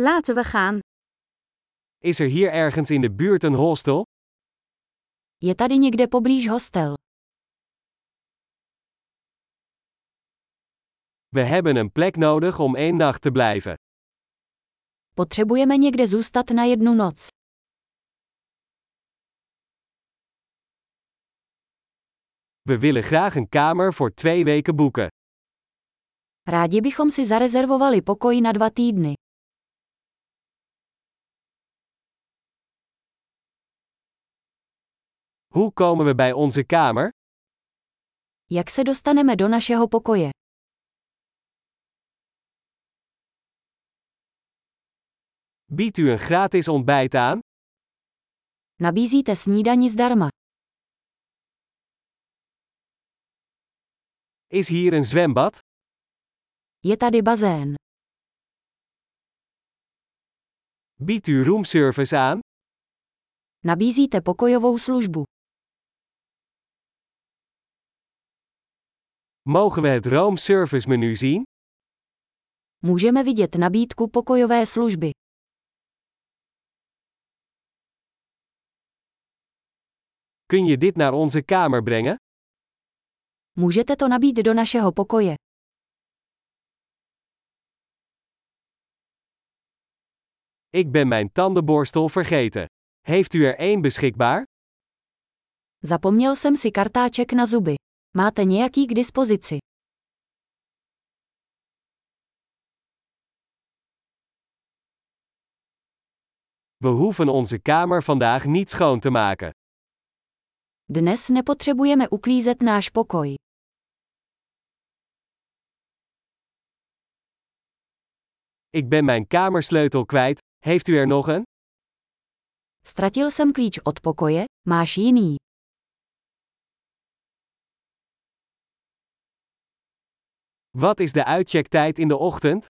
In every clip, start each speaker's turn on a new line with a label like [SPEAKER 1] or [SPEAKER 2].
[SPEAKER 1] Laten we gaan.
[SPEAKER 2] Is er hier ergens in de buurt een hostel?
[SPEAKER 1] Je tady někde poblíž hostel.
[SPEAKER 2] We hebben een plek nodig om één nacht te blijven.
[SPEAKER 1] Potřebujeme někde zůstat na jednu noc.
[SPEAKER 2] We willen graag een kamer voor twee weken boeken.
[SPEAKER 1] Rádi bychom si zarezervovali pokoj na dva týdny.
[SPEAKER 2] Hoe komen we bij onze kamer?
[SPEAKER 1] Jak se dostaneme do našeho pokoje?
[SPEAKER 2] Biedt u een gratis ontbijt aan?
[SPEAKER 1] Nabízíte snídani zdarma.
[SPEAKER 2] Is hier een zwembad?
[SPEAKER 1] Je tady bazén.
[SPEAKER 2] Biedt u roomservice aan?
[SPEAKER 1] Nabízíte pokojovou službu.
[SPEAKER 2] Mogen we het roomservice menu zien?
[SPEAKER 1] Můžeme vidět nabídku pokojové služby.
[SPEAKER 2] Kun je dit naar onze kamer brengen?
[SPEAKER 1] Můžete to nabít do našeho pokoje.
[SPEAKER 2] Ik ben mijn tandenborstel vergeten. Heeft u er één beschikbaar?
[SPEAKER 1] Zapomněl jsem si kartáček na zuby. Máte nějaký k dispozici?
[SPEAKER 2] We hoeven onze kamer vandaag niet schoon te maken.
[SPEAKER 1] Dnes nepotřebujeme uklízet náš pokoj.
[SPEAKER 2] Ik ben mijn kamersleutel kwijt. Heeft u er nog een?
[SPEAKER 1] Ztratil jsem klíč od pokoje, máš jiný.
[SPEAKER 2] Wat is de uitchecktijd in de ochtend?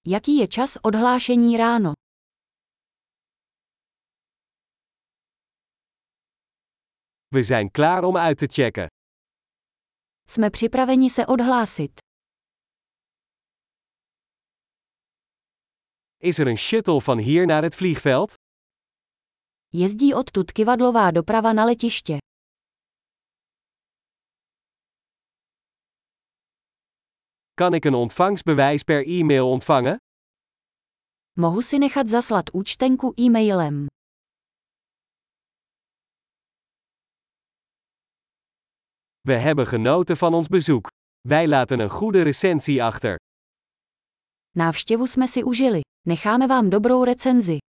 [SPEAKER 1] Jaký je čas odhlášení ráno?
[SPEAKER 2] We zijn klaar om uit te checken.
[SPEAKER 1] Jsme připraveni se odhlásit.
[SPEAKER 2] Is er een shuttle van hier naar het vliegveld?
[SPEAKER 1] Jezdí odtud kivadlová doprava na letiště.
[SPEAKER 2] Kan ik een ontvangstbewijs per e-mail ontvangen?
[SPEAKER 1] Mohu si nechat zaslat účtenku e-mailem.
[SPEAKER 2] We hebben genoten van ons bezoek. Wij laten een goede recensie achter.
[SPEAKER 1] Návštěvu jsme si užili. Necháme vám dobrou recenzi.